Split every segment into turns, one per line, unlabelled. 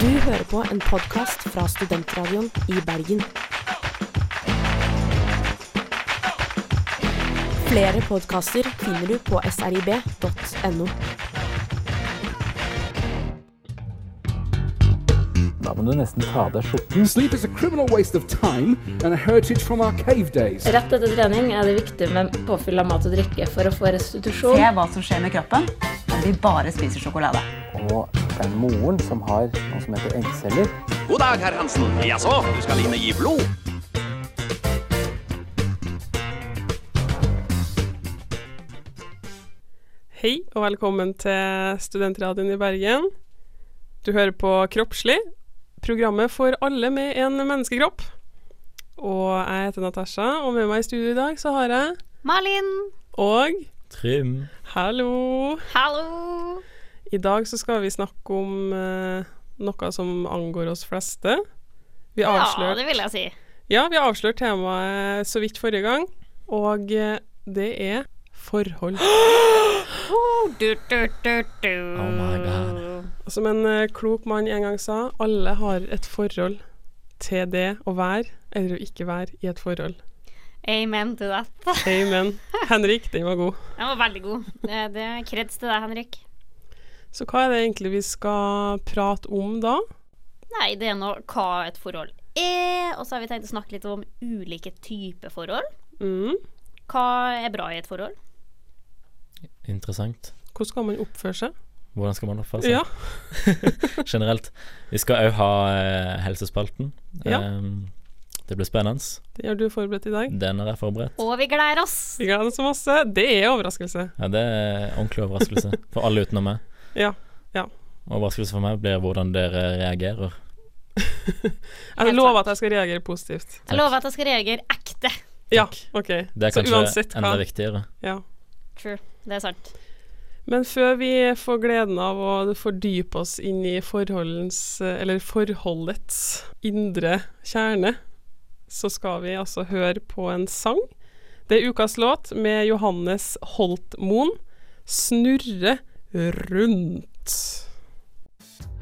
Du hører på en podkast fra Studentradioen i Bergen. Flere podkaster finner du på srib.no.
Da må du nesten ta av deg skjorten.
Sleep is a criminal waste of time and a heritage from our cave days.
Rett etter trening er det viktig med påfyll av mat og drikke for å få restitusjon.
Se hva som skjer med kroppen når vi bare spiser sjokolade.
Og det er moren som har noe som heter eggceller.
God dag, herr Hansen. Jaså, du skal inn og gi blod?
Hei og velkommen til Studentradioen i Bergen. Du hører på Kroppslig, programmet for alle med en menneskekropp. Og jeg heter Natasha, og med meg i studio i dag så har jeg
Malin!
Og
Trym.
hallo!
Hallo!
I dag så skal vi snakke om eh, noe som angår oss fleste. Vi
Ja,
avslørte
det vil jeg si.
ja, vi avslørte temaet så vidt forrige gang, og eh, det er forhold.
Oh, Du, du, du, du. Oh my god.
Som en eh, klok mann en gang sa, alle har et forhold til det å være eller å ikke være i et forhold.
Amen to that.
Amen. Henrik, den var god.
Den var veldig god. Det, det er Kreds til deg, Henrik.
Så hva er det egentlig vi skal prate om da?
Nei, det er nå hva et forhold er, og så har vi tenkt å snakke litt om ulike typer forhold.
Mm.
Hva er bra i et forhold?
Interessant.
Hvordan skal man oppføre seg?
Hvordan skal man oppføre seg
Ja.
generelt? Vi skal òg ha eh, helsespalten.
Ja.
Ehm, det blir spennende.
Det har du forberedt i dag.
Den er jeg forberedt.
Og vi gleder oss!
Vi gleder oss masse. Det er overraskelse.
Ja, det er ordentlig overraskelse for alle utenom meg.
Ja. ja.
Overraskelse for meg blir hvordan dere reagerer.
Jeg
Helt
lover
sant.
at jeg skal reagere positivt.
Jeg lover at jeg skal reagere ekte.
Ja, OK.
Det er
Så
kanskje
uansett
enda
hva.
viktigere.
Ja.
True. Det er sant.
Men før vi får gleden av å fordype oss inn i forholdens, eller forholdets indre kjerne, så skal vi altså høre på en sang. Det er ukas låt med Johannes Holtmoen, 'Snurre rundt'.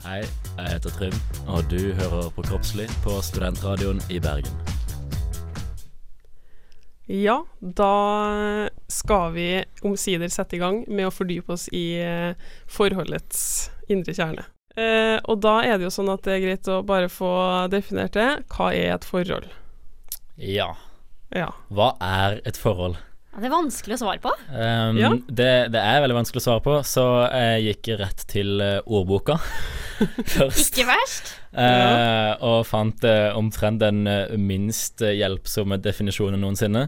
Hei, jeg heter Trym, og du hører på Kroppslig på Studentradioen i Bergen.
Ja, da skal vi omsider sette i gang med å fordype oss i eh, forholdets indre kjerne. Eh, og da er det jo sånn at det er greit å bare få definert det. Hva er et forhold?
Ja.
Ja.
Hva er et forhold?
Ja, det er vanskelig å svare på.
Ehm,
Ja.
det, det er veldig vanskelig å svare på, så jeg gikk rett til eh, ordboka først.
Ikke verst.
Eh, og fant eh, omtrent den eh, minst eh, hjelpsomme definisjonen noensinne.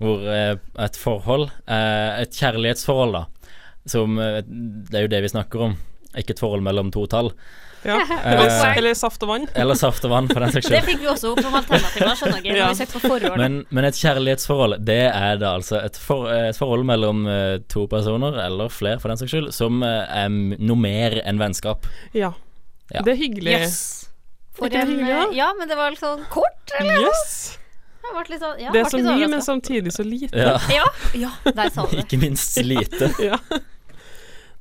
Hvor eh, et forhold eh, Et kjærlighetsforhold, da. Som eh, Det er jo det vi snakker om. Ikke et forhold mellom to tall.
Ja. Eller, eller saft og vann.
Eller saft og vann, for den saks
Det
skyld.
fikk vi også opp som alternativer, skjønner dere,
Ja.
når vi søkte på forhold.
Men, men et kjærlighetsforhold, det er da altså et, for, et forhold mellom eh, to personer, eller flere for den saks skyld, som eh, er m- noe mer enn vennskap.
Ja.
Ja.
Det er hyggelig.
Yes. For
ikke det
en,
hyggelig, da?
eh, ja, men det var litt sånn kort, eller?
Yes.
Jeg ble litt sånn, ja,
Det er
ble
så
litt
mye, men
overrasket.
samtidig så lite.
Ja,
Ja, ja, der sa du det.
ikke minst lite.
Ja.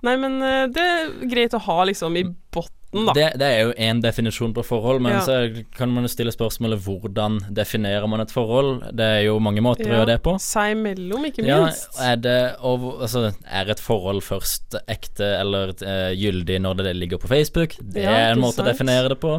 Nei, men eh, det er greit å ha liksom i bunnen, da.
Det, det er jo én definisjon på forhold, men
Ja.
så kan man jo stille spørsmålet hvordan definerer man et forhold? Det er jo mange måter å
Ja.
gjøre det på.
Seg imellom, ikke
Ja, eh,
minst.
er, det, og, altså, er et forhold først ekte eller eh, gyldig når det ligger på Facebook? Det
Ja,
er en
ikke
måte å
sant? Mm.
definere det på.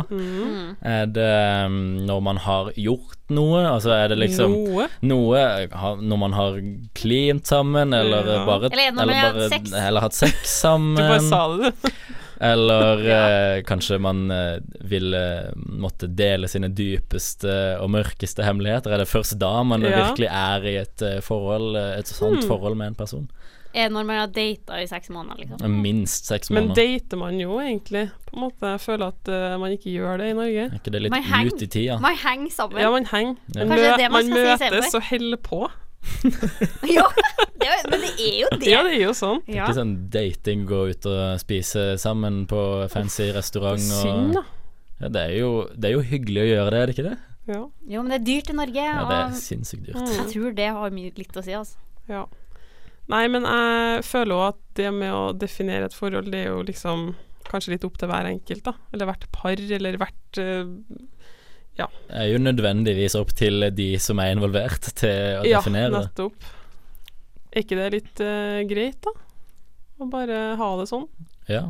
Er det mm, når man har gjort noe? Altså er det liksom
Noe.
noe ha- Når man har klint sammen, eller
Ja.
bare
Eller når man har hatt sex.
Eller hatt sex sammen.
Du bare sa det, du.
Eller eh, kanskje man eh, ville måtte dele sine dypeste og mørkeste hemmeligheter. Er det først da man
Ja. Hmm.
virkelig er i et eh, forhold, eh, et sånt forhold med en person?
Er det når man har data i seks måneder, liksom?
Minst seks
Men
måneder.
dater man jo egentlig, på en måte. Jeg føler at eh, man ikke gjør det i Norge.
Er ikke det litt
Man henger-
ut i tida?
Man henger sammen.
Ja, man henger. Man,
Kanskje det er det man skal si
møtes
istedenfor?
og holder på.
Ja, det er, men det er jo det.
Ja, det er jo sånn.
Ja.
Ikke sånn dating, gå ut og spise sammen på fancy restaurant
Synd,
og
da.
ja, det, er jo, det er jo hyggelig å gjøre det, er det ikke det?
Ja.
Jo, men det er dyrt i Norge.
Ja, det er
Og
sinnssykt dyrt.
Mm.
jeg tror det har mye litt å si, altså.
Ja. Nei, men jeg føler òg at det med å definere et forhold, det er jo liksom kanskje litt opp til hver enkelt, da. Eller hvert par, eller hvert eh,
er jo nødvendigvis opp til de som er involvert, til å
Ja,
definere det.
nettopp. Er ikke det litt eh, greit, da? Å bare ha det sånn?
Ja.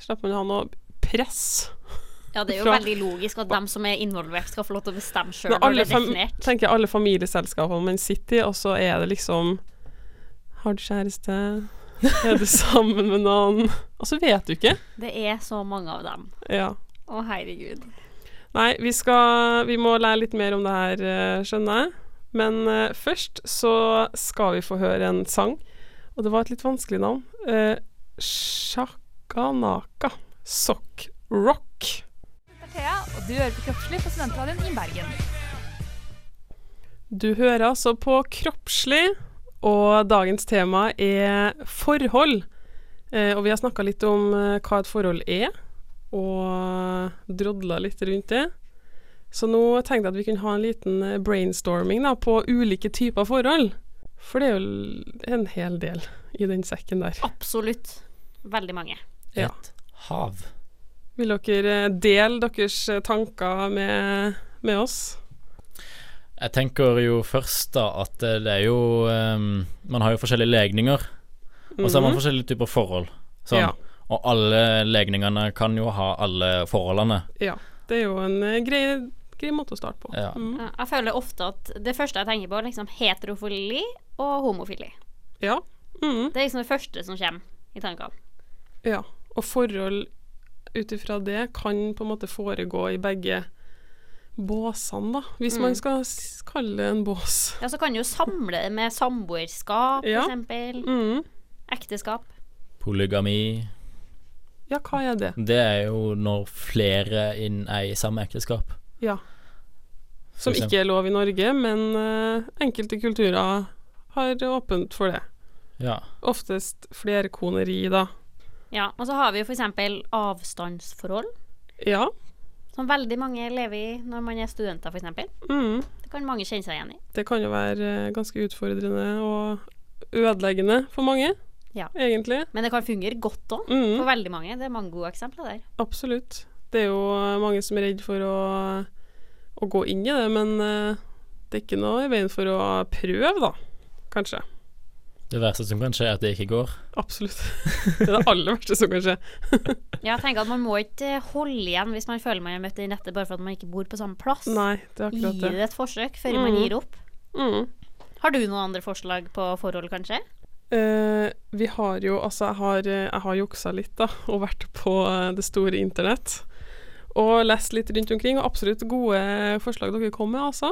Slipper man å ha noe press?
Ja, det er jo
Fra-
veldig logisk at dem som er involvert, skal få lov til å bestemme sjøl
Når
når
alle,
det er
fam
definert.
tenker jeg alle familieselskapene man sitter i, og så er det liksom Har du kjæreste? Er du sammen med noen? Og så vet du ikke.
Det er så mange av dem.
Ja.
Å, herregud.
Nei, vi skal Vi må lære litt mer om det her, eh, skjønner jeg. Men eh, først så skal vi få høre en sang, og det var et litt vanskelig navn. Eh, Shakanaka Sock Rock.
og du hører på Kroppslig på Studentradioen i Bergen.
Du hører altså på Kroppslig, og dagens tema er forhold. Eh, og vi har snakka litt om eh, hva et forhold er, og drodla litt rundt det. Så nå tenkte jeg at vi kunne ha en liten eh, brainstorming da, på ulike typer forhold. For det er jo l- en hel del i den sekken der.
Absolutt. Veldig mange.
Ja.
Et hav.
Vil dere eh, dele deres eh, tanker med, med oss?
Jeg tenker jo først da at eh, det er jo ehm, Man har jo forskjellige legninger, og så har
Mhm.
man forskjellige typer forhold. Sånn.
Ja.
Og alle legningene kan jo ha alle forholdene.
Ja. Det er jo en eh, grei, grei måte å starte på.
Ja.
Mm.
Ja, Jeg føler ofte at det første jeg tenker på, er liksom heterofili og homofili.
ja. Mm.
Det er liksom det første som kommer i tankene.
Ja, og forhold ut ifra det kan på en måte foregå i begge båsene, da. Hvis man skal s- kalle det en bås.
Ja, så kan du jo samle det med samboerskap,
Ja.
for eksempel.
Mm.
Ekteskap.
Polygami.
Ja, hva er det?
Det er jo når flere inn er i samme ekteskap.
Ja. Som
For eksempel.
ikke er lov i Norge, men eh, enkelte kulturer har åpent for det.
Ja.
Oftest flerkoneri, da.
Ja, og så har vi jo for eksempel avstandsforhold,
Ja.
som veldig mange lever i når man er studenter, for eksempel.
Mm.
Det kan mange kjenne seg igjen i.
Det kan jo være eh, ganske utfordrende og ødeleggende for mange,
Ja.
egentlig.
Men det kan fungere godt òg,
Mm.
for veldig mange. Det er mange gode eksempler der.
Absolutt. Det er jo eh, mange som er redd for å, å gå inn i det, men eh, det er ikke noe i veien for å prøve, da. Kanskje.
Det verste som kan skje, er at det ikke går.
Absolutt. Det er det aller verste som kan skje.
Ja, jeg tenker at man må ikke holde igjen hvis man føler man har møtt den rette, bare for at man ikke bor på samme plass.
Nei, det er
Gi
akkurat det.
det et forsøk før man
Mm.
gir opp.
Mm.
Har du noen andre forslag på forhold, kanskje?
Eh, vi har jo Altså, jeg har, eh, jeg har juksa litt, da, og vært på eh, det store internett. Og lest litt rundt omkring, og absolutt gode forslag dere kom med, altså.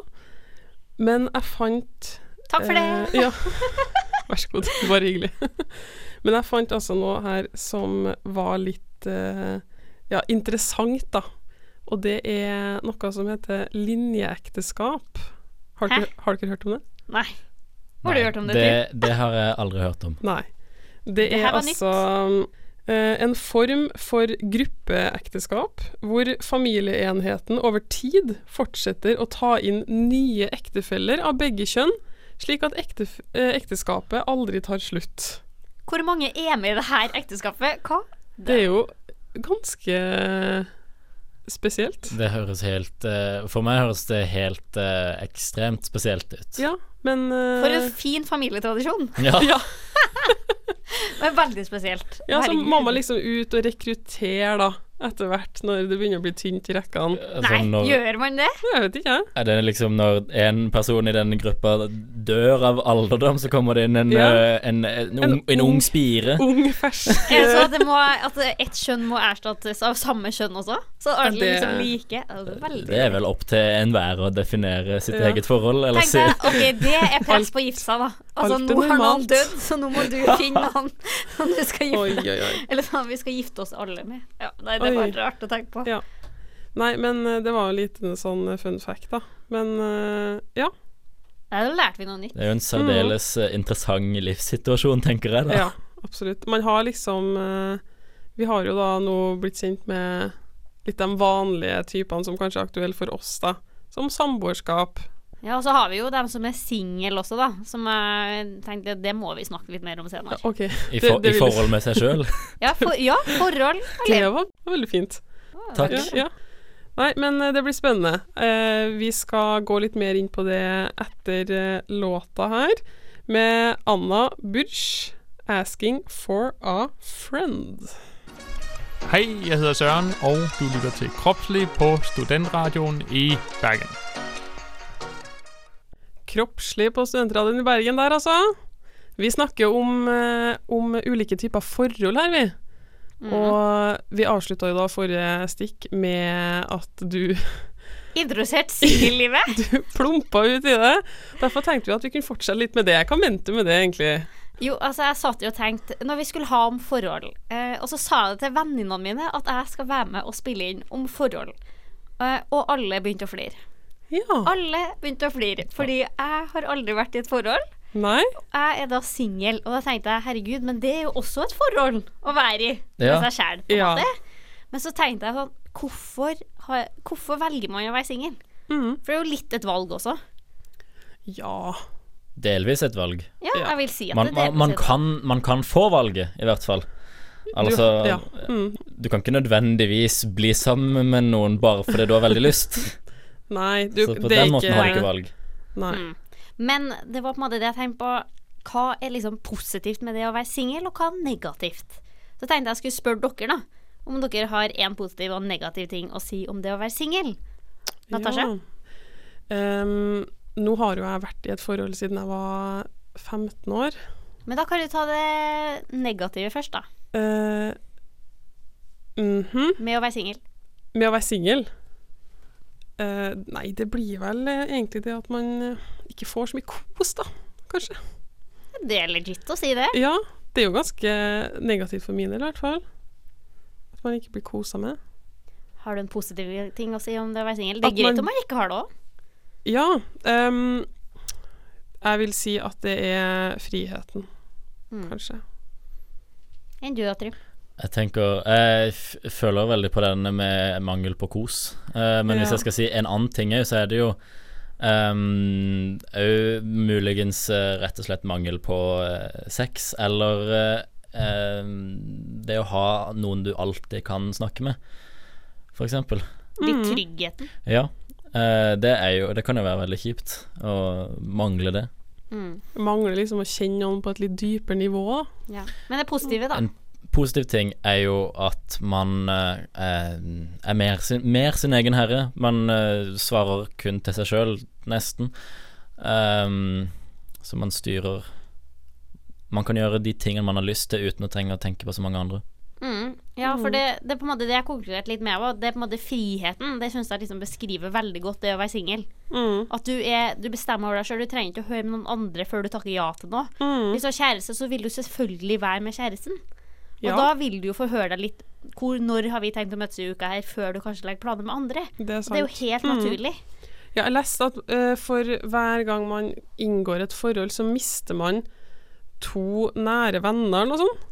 Men jeg fant
Takk for det!
Eh, ja. Vær så god. Bare hyggelig. Men jeg fant altså noe her som var litt eh, ja, interessant, da. Og det er noe som heter linjeekteskap. Har dere, har dere hørt om det?
Nei. Har du
Nei,
hørt om det,
det,
Trym?
det har jeg aldri hørt om.
Nei. Det
Det
er
her var
altså eh, en form for gruppeekteskap hvor familieenheten over tid fortsetter å ta inn nye ektefeller av begge kjønn, slik at ektef eh, ekteskapet aldri tar slutt.
Hvor mange er med i det her ekteskapet? Hva?
Det er jo ganske spesielt.
Det høres helt eh, For meg høres det helt eh, ekstremt spesielt ut.
Ja, men eh,
For en fin familietradisjon.
Ja.
ja,
Det er veldig spesielt.
ja, så
Herregud.
må man liksom ut og rekruttere, da, etter hvert, når det begynner å bli tynt i rekkene.
Nei,
Sånn når,
gjør man det?
Jeg vet ikke, jeg.
er det liksom når en person i den gruppa dør av alderdom, så kommer det inn en,
Ja.
eh, en, en, ung,
En
en
ung-
ung spire.
Ung, fersk
Er det så at, det må, at ett kjønn må erstattes av samme kjønn også? Så alle
det-
liksom like? Ja, Det er veldig
Det er vel opp til enhver å definere sitt
Ja.
eget forhold, eller
Tenk
si
deg, ok, det er press på å gifte seg, da. Altså,
alt er
nå har noen
normalt.
dødd, så nå må du finne han som du skal
Oi,
gifte deg
oi, oi.
Eller sånn vi skal gifte oss alle med. Ja, nei, det er
Oi.
bare rart å tenke på.
Ja. Nei, men eh, det var jo litt en sånn eh, fun fact, da. Men eh, ja.
Nei, Da lærte vi noe nytt.
Det er jo en særdeles eh, interessant livssituasjon, tenker jeg da.
Mm. ja. Absolutt. Man har liksom eh, Vi har jo da nå blitt kjent med litt de vanlige typene som kanskje er aktuelle for oss, da. Som samboerskap,
Ja, Og så har vi jo dem som er single også, da. Som jeg tenkte det må vi snakke litt mer om senere.
OK.
I, for,
det
i
vil-
forhold med seg sjøl.
Ja, for, ja forhold.
Det
Eller
var veldig fint.
Takk.
Ja, ja. Nei, men eh, det blir spennende. Eh, vi skal gå litt mer inn på det etter eh, låta her, med Anna Burch, 'Asking for a Friend'.
Hej, jeg hedder Søren, og du lytter til Kropslig på Studentradioen i Bergen.
Kroppslig på Studentradioen i Bergen der, altså. Vi snakker om, eh, om ulike typer forhold her, vi. Og vi avslutta jo da forrige stikk med at du
introdusert singellivet.
du plumpa ut i det. Derfor tenkte vi at vi kunne fortsette litt med det. Hva mente du med det, egentlig?
Jo, altså jeg satt jo og tenkte Når vi skulle ha om forhold eh, Og så sa jeg det til venninnene mine At jeg skal være med og spille inn om forhold eh, Og alle begynte å flire
Ja.
Alle begynte å flire Fordi jeg har aldri vært i et forhold
Nei?
Jeg er da single Og da tenkte jeg, herregud, men det er jo også et forhold Å være i
Ja.
med seg selv på en
Ja.
måte Men så tenkte jeg sånn Hvorfor, har, hvorfor velger man å være single?
Mm.
For det er jo litt et valg også
Ja.
Delvis et valg.
Ja, jeg vil si at
Man,
det er
man, man,
delvis et valg.
kan, man kan få valget, i hvert fall. Altså,
Du, ja. Mm.
du kan ikke nødvendigvis bli sammen med noen bare fordi du har veldig lyst.
Nei, du,
Så på
det er
den måten
ikke,
har du ikke valg.
Nei.
Men det var på en måte det jeg tenkte på. Hva er liksom positivt med det å være singel, og hva er negativt? Så tenkte jeg skulle spørre dere, da. Om dere har én positiv og negativ ting å si om det å være singel. Natasja?
Ja. Em, nå har jo jeg vært i et forhold siden jeg var 15 år.
Men da kan du ta det negative først, da.
Eh, mhm.
Med å være singel.
Med å være singel eh, Nei, det blir vel eh, egentlig det at man eh, ikke får så mye kos, da. Kanskje.
Det er legit å si det.
Ja, det er jo ganske negativt for min del, i hvert fall. At man ikke blir kosa med.
Har du en positiv ting å si om det å være singel? Det
At
er greit
man-
om man ikke har det òg.
Ja. ehm, jeg vil si at det er friheten, kanskje.
Enn du, Trym.
Jeg tenker, jeg f- føler veldig på den med mangel på kos. Eh, men hvis
Ja.
jeg skal si en annen ting òg, så er det jo ehm, òg muligens eh, rett og slett mangel på eh, sex. Eller eh, ehm, det å ha noen du alltid kan snakke med, for eksempel.
Mm.
Litt tryggheten.
Ja. eh, det, er jo, det kan jo være veldig kjipt å mangle det.
Mangler liksom å kjenne noen på et litt dypere nivå. da.
Ja. Men det positive, da.
En positiv ting er jo at man eh, eh, er mer sin, mer sin egen herre. Man eh, svarer kun til seg sjøl, nesten. Ehm, så man styrer Man kan gjøre de tingene man har lyst til uten å trenge å tenke på så mange andre.
Mm. Ja, for det, det er på en måte det jeg konkluderte litt med òg. Det er på en måte friheten. Det syns jeg liksom beskriver veldig godt det å være singel.
Mm.
At du, er, du bestemmer over deg sjøl. Du trenger ikke å høre med noen andre før du takker ja til noe.
Mm.
Hvis du har kjæreste, så vil du selvfølgelig være med kjæresten. Og
Ja.
da vil du jo få høre deg litt hvor, Når har vi tenkt å møtes i uka her, før du kanskje legger planer med andre?
Det er
Det er jo
sant. Mm.
helt naturlig.
Ja, jeg leste at eh, for hver gang man inngår et forhold, så mister man to nære venner eller noe sånt.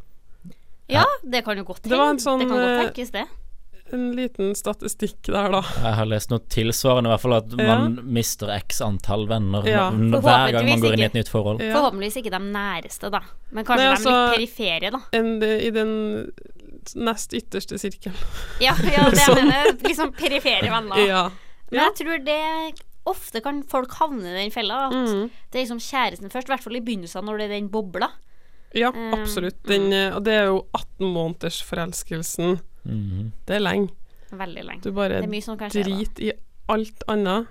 Ja, det kan jo godt
Det var en
hende.
sånn,
det kan godt
eh,
tenkes, det.
En liten statistikk der, da.
Jeg har lest noe tilsvarende, i hvert fall at
Ja.
man mister x antall venner
Ja.
n- hver gang
Forhåpentligvis
man går inn i
ikke.
et nytt forhold.
Ja.
Forhåpentligvis ikke de næreste, da. Men kanskje
Nei,
de
altså-
litt perifere, da.
En, det- I den nest ytterste sirkelen.
Ja, ja det jeg mener jeg. Liksom perifere venner.
Sånn. Ja.
Men jeg tror det ofte kan folk havne i den fella. At
Mm.
det er liksom kjæresten først, i hvert fall i begynnelsen når det er den bobla.
ja,
Mm,
absolutt. Den, eh, og det er jo 18-månedersforelskelsen. Det er lenge.
Veldig lenge.
Du bare
Det er mye som kan skje, da. Mm.
drit i alt annet.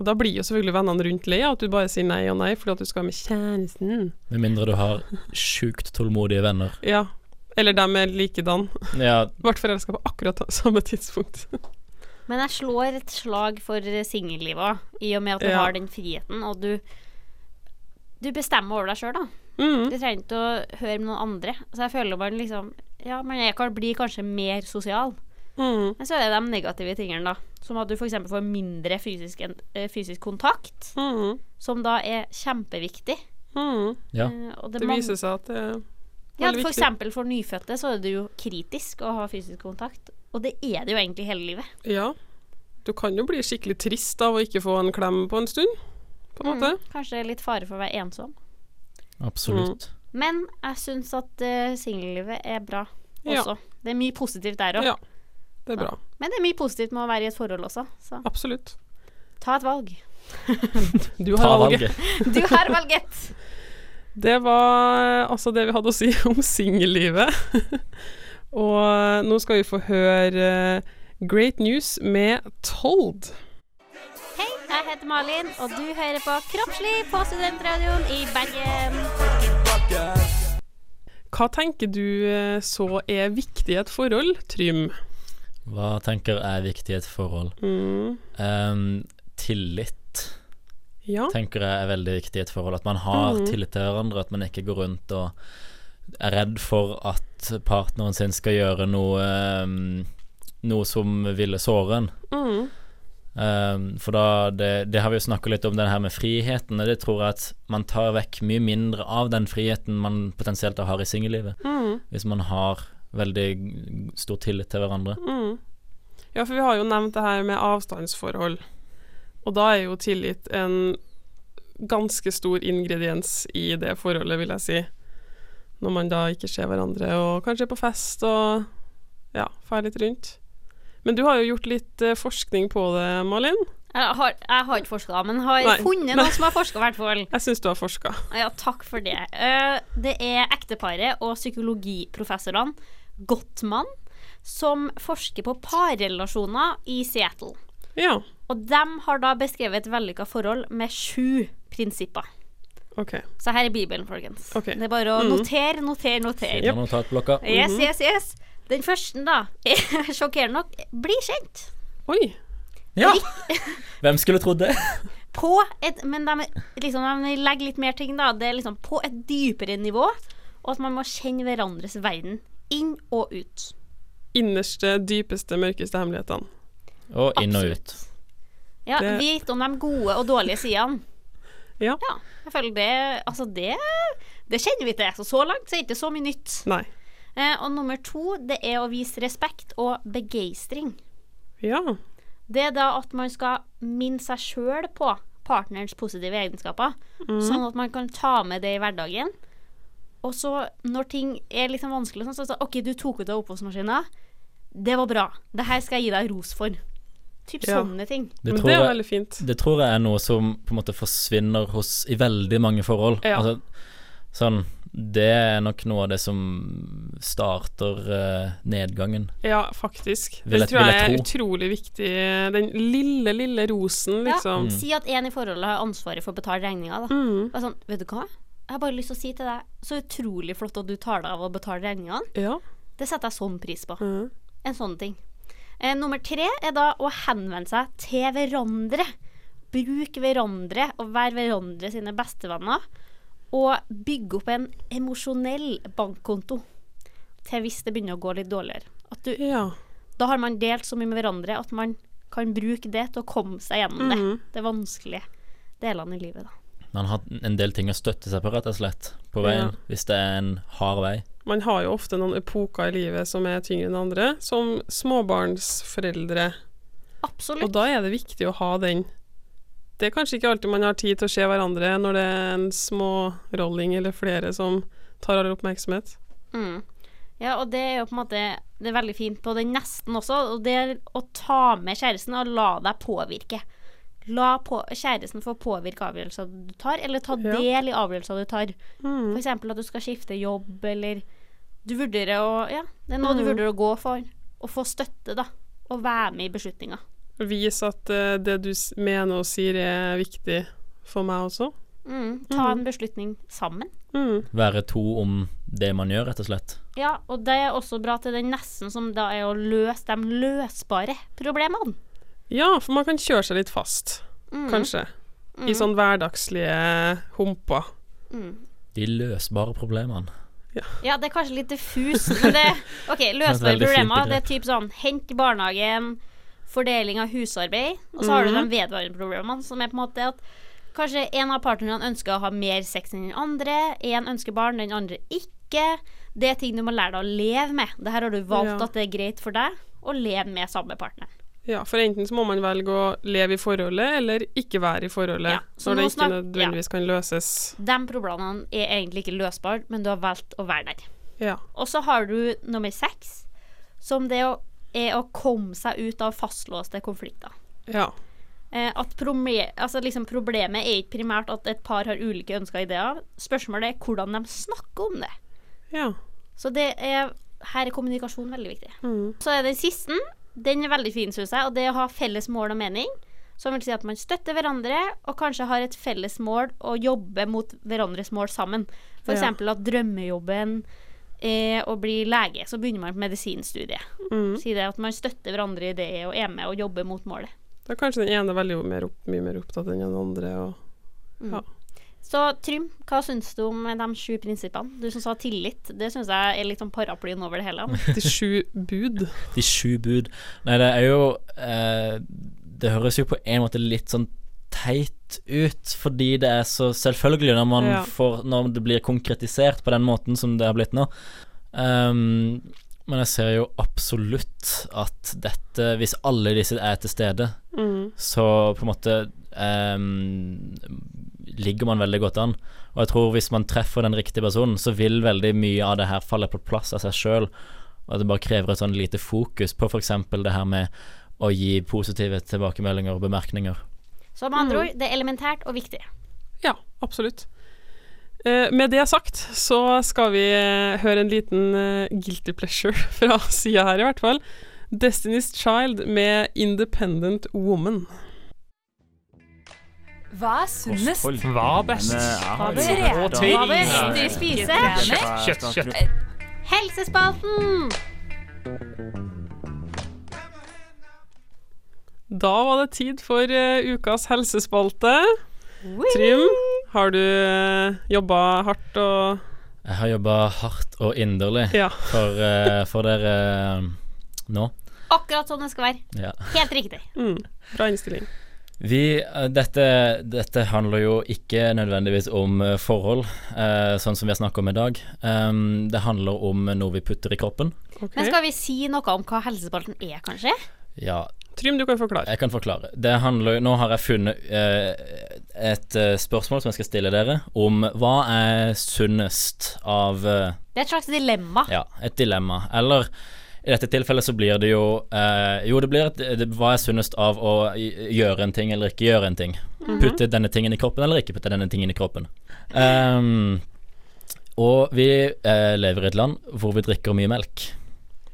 Og da blir jo selvfølgelig vennene rundt lei av at du bare sier nei og nei fordi at du skal med kjæresten.
Med mindre du har sjukt tålmodige venner.
Ja. Eller dem er likedan.
Ja,
Ble forelska på akkurat samme tidspunkt.
Men jeg slår et slag for singellivet òg, i og med at du
Ja.
har den friheten, og du Du bestemmer over deg sjøl, da.
Mm.
Du trenger ikke å høre med noen andre. Så jeg føler man liksom Ja, man er, kan bli kanskje mer sosial.
Mm.
Men så er det de negative tingene, da. Som at du f.eks. får mindre fysisk, en- eh, fysisk kontakt,
Mm.
som da er kjempeviktig.
Mm.
ja.
Eh, Og
Det
man-
viser seg at eh, det
Ja,
Veldig
for
viktig.
eksempel for nyfødte så er det jo kritisk å ha fysisk kontakt, og det er det jo egentlig hele livet.
Ja. Du kan jo bli skikkelig trist av å ikke få en klem på en stund, på en måte.
Mm, kanskje det er litt fare for å være ensom.
Mm.
Absolutt.
Men jeg syns at uh, singellivet er bra
Ja.
også. Det er mye positivt der òg.
Ja. Det er bra.
Men det er mye positivt med å være i et forhold også, så
Absolutt.
ta et valg.
Du
Ta
har valget.
valget.
Du har valget!
Det var eh, altså det vi hadde å si om singellivet. Og eh, nå skal vi få høre eh, Great News med Told.
Hei, jeg heter Malin, og du hører på Kroppslig på Studentradioen i Bergen.
Hva tenker du eh, så er viktig i et forhold, Trym?
Hva tenker jeg er viktig i et forhold?
Mm.
Ehm, tillit
Ja.
tenker jeg er veldig viktig i et forhold. At man har
Mm.
tillit til hverandre, at man ikke går rundt og er redd for at partneren sin skal gjøre noe ehm, Noe som ville såre en.
Mm.
Ehm, for da det, det har vi jo snakka litt om, den her med friheten. Og det tror jeg at man tar vekk mye mindre av den friheten man potensielt da har i singellivet.
Mm.
Hvis man har veldig stor tillit til hverandre.
Ja, for vi har jo nevnt det her med avstandsforhold. Og da er jo tillit en ganske stor ingrediens i det forholdet, vil jeg si. Når man da ikke ser hverandre, og kanskje er på fest og ja, fer litt rundt. Men du har jo gjort litt eh, forskning på det, Malin.
Jeg har, jeg har ikke forska, men har
Nei.
funnet
Nei.
noen som har forska, i hvert fall.
Jeg syns du har forska.
Ja, takk for det. Eh, Det er ekteparet og psykologiprofessorene Gottmann som forsker på parrelasjoner i Seattle.
Ja,
Og de har da beskrevet et vellykka forhold med sju prinsipper.
OK.
Så her er Bibelen, folkens.
Ok.
Det er bare å notere, notere, notere.
Finner notatblokka.
Yes, yes, yes. Den første, da, er sjokkerende nok bli kjent.
Oi.
Mm. Ja! Hvem skulle trodd det?
På et Men de, liksom, de legger litt mer ting, da. Det er liksom på et dypere nivå. Og at man må kjenne hverandres verden. Inn og ut.
Innerste, dypeste, mørkeste hemmelighetene.
Og inn og ut.
Ja,
Det-
Vite om de gode og dårlige sidene.
Ja.
ja. Jeg føler det Altså, det Det kjenner vi til. Så så langt så er det ikke så mye nytt.
Nei.
Eh, og nummer to, det er å vise respekt og begeistring.
Ja.
Det er da at man skal minne seg sjøl på partnerens positive egenskaper, sånn at man kan ta med det i hverdagen. Og så når ting er liksom vanskelig, og sånn, så er det sånn OK, du tok ut av oppvaskmaskina. Det var bra. Det her skal jeg gi deg ros for. Typ
Ja.
sånne ting.
Det
Men
tror
det er
jeg-
veldig fint.
Det tror jeg er noe som på en måte forsvinner hos i veldig mange forhold.
Ja.
Altså, sånn, det er nok noe av det som starter eh, nedgangen.
Ja, faktisk.
Vil
Det
jeg-
tror
vil
jeg
jeg
er
tro.
utrolig viktig. Den lille, lille rosen, liksom.
Ja,
Mm.
si at en i forholdet har ansvaret for å betale regninga, da. Bare sånn, vet du hva? Jeg har bare lyst til å si til deg, så utrolig flott at du tar deg av å betale regningene.
Ja.
Det setter jeg sånn pris på. En sånn ting. Eh, nummer tre er da å henvende seg til hverandre. Bruk hverandre og være hverandre sine bestevenner. Og bygge opp en emosjonell bankkonto til hvis det begynner å gå litt dårligere. At du,
Ja.
da har man delt så mye med hverandre at man kan bruke det til å komme seg gjennom det. Det vanskelige delene i livet, da.
Man har en del ting å støtte seg på, rett og slett, på veien.
Ja.
Hvis det er en hard vei.
Man har jo ofte noen epoker i livet som er tyngre enn andre, som småbarnsforeldre. Og
Absolutt.
da er det viktig å ha den. Det er kanskje ikke alltid man har tid til å se hverandre når det er en smårolling eller flere som tar all oppmerksomhet.
Mm. Ja, og det er jo på en måte Det er veldig fint på den nesten også, og det er å ta med kjæresten og la deg påvirke. La på, kjæresten få påvirke avgjørelser du tar, eller ta
Ja.
del i avgjørelser du tar. For F.eks. at du skal skifte jobb, eller du vurderer å Ja, det er noe du vurderer å gå for. Å få støtte, da. Og være med i beslutninga.
Vis at eh, det du s- mener og sier er viktig for meg også.
Mm. Ta en beslutning sammen.
Mm.
Være to om det man gjør, rett og slett.
Ja, og det er også bra til den nesten som da er å løse de løsbare problemene.
Ja, for man kan kjøre seg litt fast,
Mm.
kanskje. I sånn hverdagslige humper.
De løsbare problemene.
Ja, det er kanskje litt diffus, men det OK, løsbare
veldig fint
problemer. Det
begrep.
er typ sånn hent i barnehagen, fordeling av husarbeid, og så har du de
Mhm.
vedvarende problemene, som er på en måte at kanskje en av partnerne ønsker å ha mer sex enn den andre, én ønsker barn, den andre ikke. Det er ting du må lære deg å leve med. Det her har du valgt
Ja.
at det er greit for deg å leve med samme partner.
Ja, for enten så må man velge å leve i forholdet, eller ikke være i forholdet.
Ja, så
når det
nå
ikke
snak-
nødvendigvis kan løses.
De problemene er egentlig ikke løsbare, men du har valgt å være der.
Ja.
Og så har du nummer seks, som det å, er å komme seg ut av fastlåste konflikter.
ja.
Eh, at prome- altså liksom problemet er ikke primært at et par har ulike ønsker og ideer. Spørsmålet er hvordan de snakker om det.
Ja.
Så det er, her er kommunikasjon veldig viktig.
Mm.
Så er den siste. Den er veldig fin, syns jeg. Og det er å ha felles mål og mening. Som vil si at man støtter hverandre og kanskje har et felles mål og jobber mot hverandres mål sammen.
Ja.
F.eks. eksempel at drømmejobben er å bli lege. Så begynner man på medisinstudiet.
Mm.
Si det at man støtter hverandre i det og er med og jobber mot målet.
Da er kanskje den ene veldig mer opp, mye mer opptatt enn den andre. Og
Så Trym, hva syns du om de sju prinsippene? Du som sa tillit. Det syns jeg er litt sånn paraplyen over det hele.
de sju bud.
De sju bud. Nei, det er jo eh, Det høres jo på en måte litt sånn teit ut, fordi det er så selvfølgelig når, man
Ja.
får, når det blir konkretisert på den måten som det har blitt nå. Ehm, men jeg ser jo absolutt at dette, hvis alle disse er til stede,
Mm.
så på en måte ehm, ligger man veldig godt an. Og jeg tror hvis man treffer den riktige personen, så vil veldig mye av det her falle på plass av seg sjøl. Og det bare krever et sånn lite fokus på f.eks. det her med å gi positive tilbakemeldinger og bemerkninger.
Så med andre ord, det er elementært og viktig.
Ja, absolutt. Eh, med det sagt så skal vi eh, høre en liten eh, guilty pleasure fra sida her, i hvert fall. Destiny's Child med Independent Woman.
Hva er sunnest?
Hva er best?
Hva bør
Rå
jeg
ting.
Riktig spise.
Kjøtt, kjøtt.
Helsespalten!
Da var det tid for eh, ukas helsespalte. Trym, har du uh, jobba hardt og
Jeg har jobba hardt og inderlig
Ja.
for, eh, for dere eh, nå.
Akkurat sånn det skal være.
Ja.
Helt riktig.
Mm, bra innstilling.
Vi, eh, dette, dette handler jo ikke nødvendigvis om eh, forhold, eh, sånn som vi har snakka om i dag. Em, det handler om noe vi putter i kroppen.
Ok.
Men skal vi si noe om hva helsespalten er, kanskje?
Ja,
Trym, du kan forklare.
jeg kan forklare. Det handler, jo- nå har jeg funnet eh, et eh, spørsmål som jeg skal stille dere, om hva er sunnest av eh,
Det er et slags dilemma.
Ja, et dilemma. Eller i dette tilfellet så blir det jo eh, Jo, det blir et det, Hva er sunnest av å gj- gjøre en ting eller ikke gjøre en ting? Putte denne tingen i kroppen eller ikke putte denne tingen i kroppen? Ehm, og vi eh, lever i et land hvor vi drikker mye melk.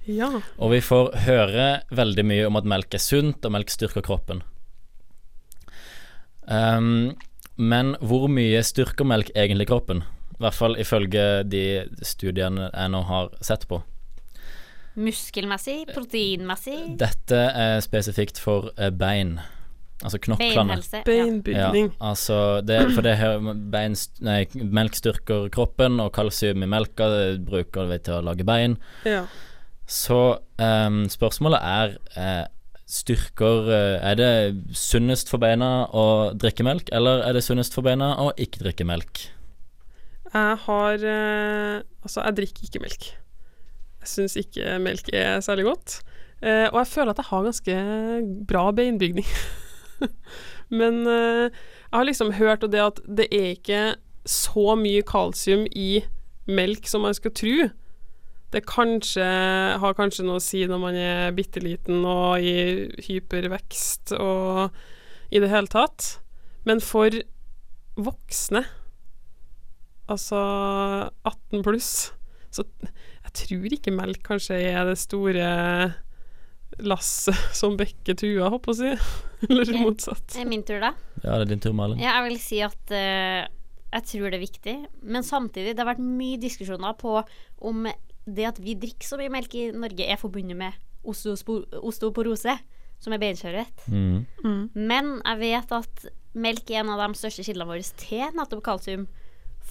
Ja.
Og vi får høre veldig mye om at melk er sunt, og melk styrker kroppen. Ehm, men hvor mye styrker melk egentlig kroppen? I hvert fall ifølge de studiene jeg nå har sett på.
Muskelmessig, proteinmessig,
Dette er spesifikt for eh, bein, altså knoklene.
beinhelse. Ja.
Ja,
Beinbygning.
altså det, for det her, bein, nei, melk styrker kroppen, og kalsium i melka eh, bruker vi til å lage bein.
Ja.
Så ehm, spørsmålet er eh, Styrker eh, Er det sunnest for beina å drikke melk, eller er det sunnest for beina å ikke drikke melk?
Jeg har eh, Altså, jeg drikker ikke melk. Jeg syns ikke melk er særlig godt. Eh, og jeg føler at jeg har ganske bra beinbygning. Men eh, jeg har liksom hørt og det at det er ikke så mye kalsium i melk som man skal tro. Det kanskje, har kanskje noe å si når man er bitte liten og i hypervekst og i det hele tatt. Men for voksne altså 18 pluss, så jeg tror ikke melk kanskje er det store lasset som bekker trua, håper jeg å si. Eller motsatt.
Det er min tur, da.
Ja, det er din tur, Malin.
Ja, jeg vil si at eh, jeg tror det er viktig. Men samtidig, det har vært mye diskusjoner på om det at vi drikker så mye melk i Norge, er forbundet med osteospo- osteoporose, som er beinskjørhet.
Mm.
Men jeg vet at melk er en av de største kildene våre til nettopp kalsium.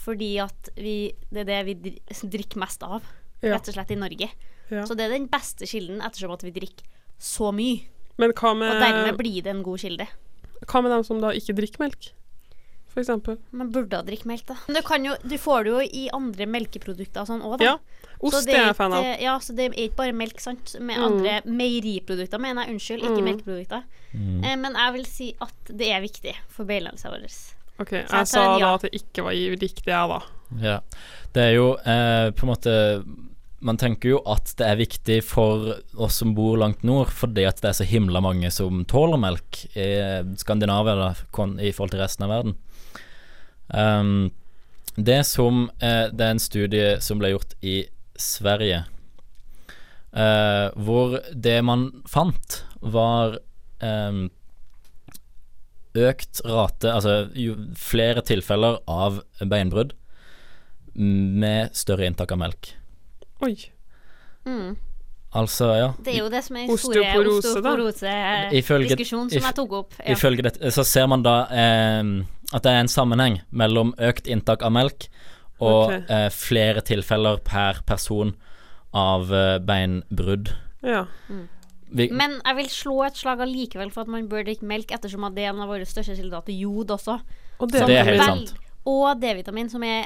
Fordi at vi, det er det vi dri- drikker mest av,
Ja.
rett og slett, i Norge.
Ja.
Så det er den beste kilden, ettersom at vi drikker så mye.
Men hva
Og dermed
med,
blir det en god kilde.
hva med dem som da ikke drikker melk? f.eks.
Man burde ha drikke melk, da. Men du, kan jo, du får det jo i andre melkeprodukter og sånn òg, da.
Ja. Ost
Så
er jeg
ikke-
fan av.
Ja, så det er ikke bare melk, sant. Med
Mm.
andre meieriprodukter, mener jeg. Unnskyld, ikke melkeprodukter.
Mm.
Eh, men jeg vil si at det er viktig for beilandet vår.
OK, jeg,
tar
sa
en ja.
da at det ikke var riktig, jeg, da.
Ja. Det er jo eh, på en måte Man tenker jo at det er viktig for oss som bor langt nord, fordi at det er så himla mange som tåler melk i Skandinavia da, kon- i forhold til resten av verden. Ehm, det som eh, Det er en studie som ble gjort i Sverige, eh, hvor det man fant, var ehm, økt rate Altså jo flere tilfeller av beinbrudd med større inntak av melk.
Oi.
Mm.
Altså, ja.
Det er jo det som er
Osteoporose, da.
Ifølge-
osteoporose-diskusjonen som
if-
jeg tok opp.
I-
Ja.
Ifølge dette så ser man da eh, at det er en sammenheng mellom økt inntak av melk og
Ok.
eh, flere tilfeller per person av eh, beinbrudd.
Ja.
Vi,
Men jeg vil slå et slag allikevel for at man bør drikke melk, ettersom at det er en av våre største kilder til jod også.
Og
det
det,
er helt
Vel-
sant.
Og D-vitamin, som er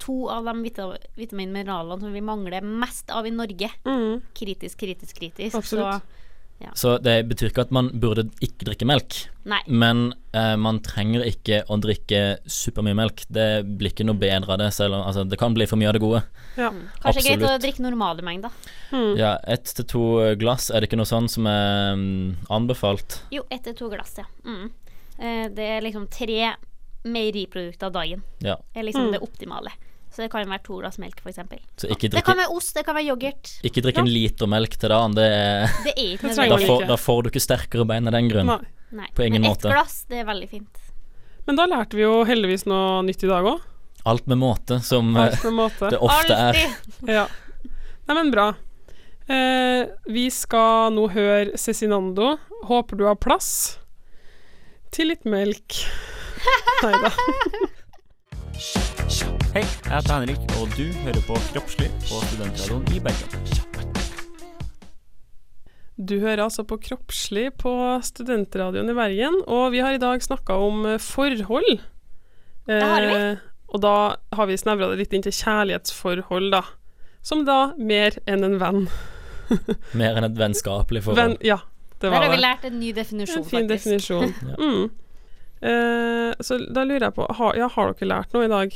to av de vita- vitaminmineralene som vi mangler mest av i Norge.
Mm.
Kritisk, kritisk, kritisk.
Absolutt.
Så det betyr ikke at man burde ikke drikke melk,
Så nei.
men eh, man trenger ikke å drikke supermye melk. Det blir ikke noe bedre av det, selv om altså, det kan bli for mye av det gode.
Ja.
Mm.
Kanskje greit å
Absolutt.
drikke normale mengder. Mm.
Ja, ett til to glass, er det ikke noe sånn som er mm, anbefalt?
Jo, ett til to glass, ja. Mm. Eh, Det er liksom tre meieriprodukter av dagen.
Ja,
Det er liksom det optimale. Så det kan være to glass melk, f.eks.
så ikke
Det kan
drikke,
være ost, det kan være yoghurt.
ikke drikke en liter melk til dagen. Det er,
Det er ikke
Det
nødvendig.
trenger
da,
man
får,
ikke.
da får du ikke sterkere bein av den grunn.
Nei.
Nei.
på ingen
Men
måte.
ett glass, det er veldig fint.
Men da lærte vi jo heldigvis noe nytt i dag òg.
Alt med måte, som eh,
Alt på en måte.
det ofte er.
Alltid.
Ja. Nei, men bra. Eh, vi skal nå høre Cezinando. Håper du har plass til litt melk. Nei da.
Hei, jeg heter Henrik, og du hører på Kroppslig på Studentradioen i Bergen.
Du hører altså på Kroppslig på Studentradioen i Bergen, og vi har i dag snakka om eh, forhold. Eh,
Det har vi.
og da har vi snevra det litt inn til kjærlighetsforhold, da. Som da mer enn en venn.
Mer enn et vennskapelig
venn
forhold.
ja, det
Der
var
har
det.
vi lært en ny definisjon,
En fin
faktisk.
definisjon. mm. Eh, så da lurer jeg på har, ja, har dere lært noe i dag?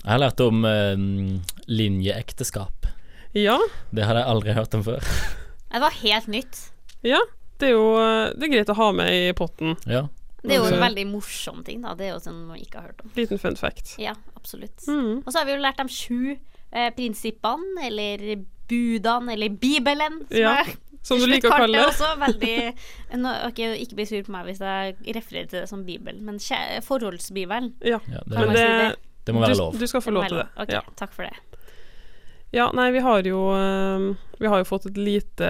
Jeg har lært om eh, mm, linjeekteskap.
Ja,
Det hadde jeg aldri hørt om før.
Det var helt nytt.
det er jo eh, det er greit å ha med i potten.
Ja.
Det er jo en
Ja.
veldig morsom ting, da. Det er jo sånn man ikke har hørt om.
Liten fun fact.
Ja, absolutt.
Mm.
Og så har vi jo lært de sju eh, prinsippene, eller budene, eller Bibelen, som
Ja,
jeg
Som du liker å kalle det.
Også, veldig, nå, ok, ikke bli sur på meg hvis jeg refererer til det som Bibelen, men kjæ- forholdsbibelen.
Ja.
Ja,
Men
Kan
det,
man si
det,
det?
det må
Du,
være lov.
du skal få lov til det.
Ok,
Ja.
Takk for det.
ja, nei, vi har jo eh, Vi har jo fått et lite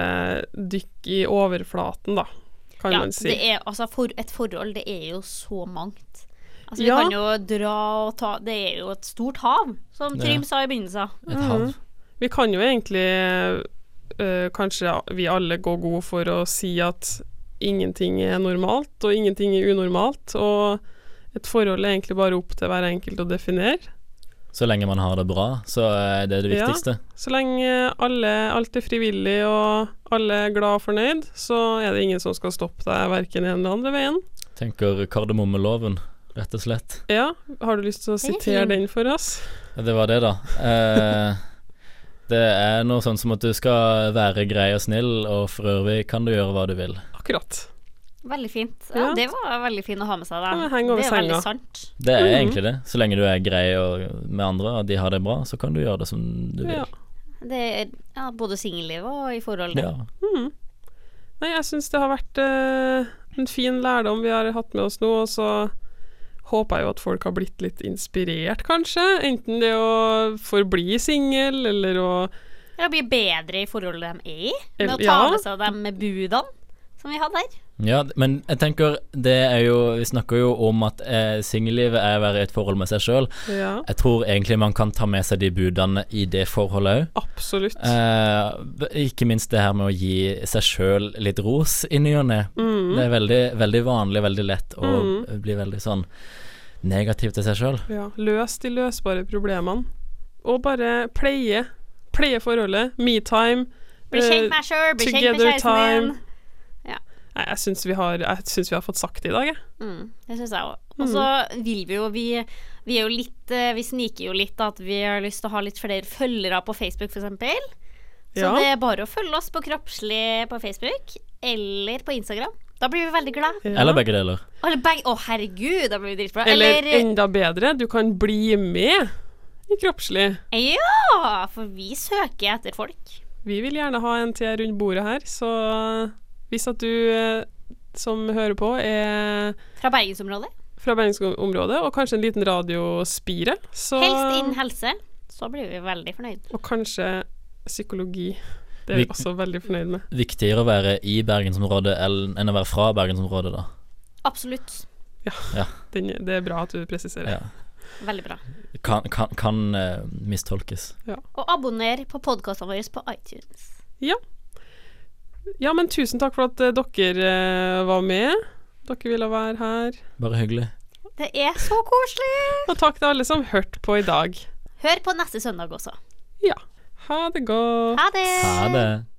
dykk i overflaten, da, kan
Ja,
man si.
det er, altså, for, et forhold, det er jo så mangt. Altså, vi
Ja.
kan jo dra og ta Det er jo et stort hav, som
Ja.
Trym sa i begynnelsen.
Et hav.
Mm. Vi kan jo egentlig eh, kanskje vi alle gå god for å si at ingenting er normalt, og ingenting er unormalt. Og et forhold er egentlig bare opp til hver enkelt å definere.
Så lenge man har det bra, så er det det
Ja.
viktigste.
Så lenge alle, alt er frivillig og alle er glad og fornøyd, så er det ingen som skal stoppe deg verken den eller andre veien.
Tenker kardemommeloven, rett og slett.
Ja, har du lyst til å
Den er
sitere
fin.
den for oss?
Det var det, da. Eh, det er noe sånn som at du skal være grei og snill, og for øvrig kan du gjøre hva du vil.
Akkurat.
Veldig fint. Ja,
Ja.
Det var veldig fin å ha med seg. Da.
Ja, men heng over
det er veldig
senga.
sant.
Det
Mhm.
er egentlig det. Så lenge du er grei og med andre, og de har det bra, så kan du gjøre det som du vil.
Ja.
Det er ja, både singellivet og i forhold.
Ja.
Nei, jeg syns det har vært eh, en fin lærdom vi har hatt med oss nå, og så håper jeg jo at folk har blitt litt inspirert, kanskje. Enten det å forbli singel, eller å
Ja, bli bedre i forholdet de er i, med å ta
Ja.
med seg de budene som vi hadde her.
ja, men jeg tenker det er jo Vi snakker jo om at eh, singellivet er å være i et forhold med seg sjøl.
Ja,
Jeg tror egentlig man kan ta med seg de budene i det forholdet òg.
absolutt.
Eh, ikke minst det her med å gi seg sjøl litt Mhm. ros i ny og ne. Det er veldig, veldig vanlig, veldig lett å bli veldig sånn negativ til seg sjøl.
Ja, løs de løsbare problemene. Og bare pleie. Pleie forholdet. Metime.
Bli
Eh,
kjent med deg selv, bli kjent med kjæresten din. Ja.
Nei, jeg syns vi, har- jeg syns vi har fått sagt det i dag, jeg.
Mm, det syns jeg òg. Og så vil vi jo vi, vi er jo litt eh, Vi sniker jo litt at vi har lyst til å ha litt flere følgere på Facebook, f.eks. Så
Ja.
det er bare å følge oss på Kroppslig på Facebook eller på Instagram. Da blir vi veldig glad.
Eller begge deler.
Eller bang! Å, herregud, da blir vi dritbra.
Eller,
Eller,
enda bedre, du kan bli med i kroppslig.
Ja! For vi søker etter folk.
Vi vil gjerne ha en til rundt bordet her, så hvis at du eh, som hører på er
Fra bergensområdet.
fra bergensområdet, og kanskje en liten radiospire, så
Helst innen helse. Så blir vi veldig fornøyd.
Og kanskje psykologi. Det er vi
Vi-
også veldig fornøyd med.
Viktigere å være i bergensområdet enn enn å være fra bergensområdet, da.
Absolutt.
Ja.
Den, det er bra at du presiserer.
Ja.
Veldig bra.
Kan, kan, kan eh, mistolkes.
Og abonner på podkastene våre på iTunes.
Ja. ja, men tusen takk for at eh, dere eh, var med. Dere ville være her.
Bare hyggelig.
Det er så koselig!
Og takk til alle som hørte på i dag.
Hør på neste søndag også.
Ha det godt.
Ha det!
Ha det.